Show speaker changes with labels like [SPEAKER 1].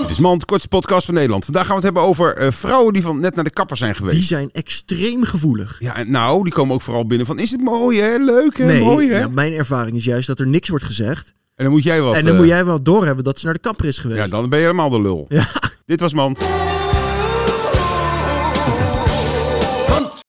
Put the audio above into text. [SPEAKER 1] Dit is Mand, kortste podcast van Nederland. Vandaag gaan we het hebben over eh, vrouwen die van net naar de kapper zijn geweest.
[SPEAKER 2] Die zijn extreem gevoelig.
[SPEAKER 1] Ja, en nou, die komen ook vooral binnen van, is het mooi hè, leuk hè,
[SPEAKER 2] nee,
[SPEAKER 1] mooi hè.
[SPEAKER 2] ja, mijn ervaring is juist dat er niks wordt gezegd.
[SPEAKER 1] En dan moet jij wat...
[SPEAKER 2] en dan
[SPEAKER 1] eh,
[SPEAKER 2] moet jij wel doorhebben dat ze naar de kapper is geweest.
[SPEAKER 1] Ja, dan ben je helemaal de lul.
[SPEAKER 2] Ja.
[SPEAKER 1] Dit was Mand.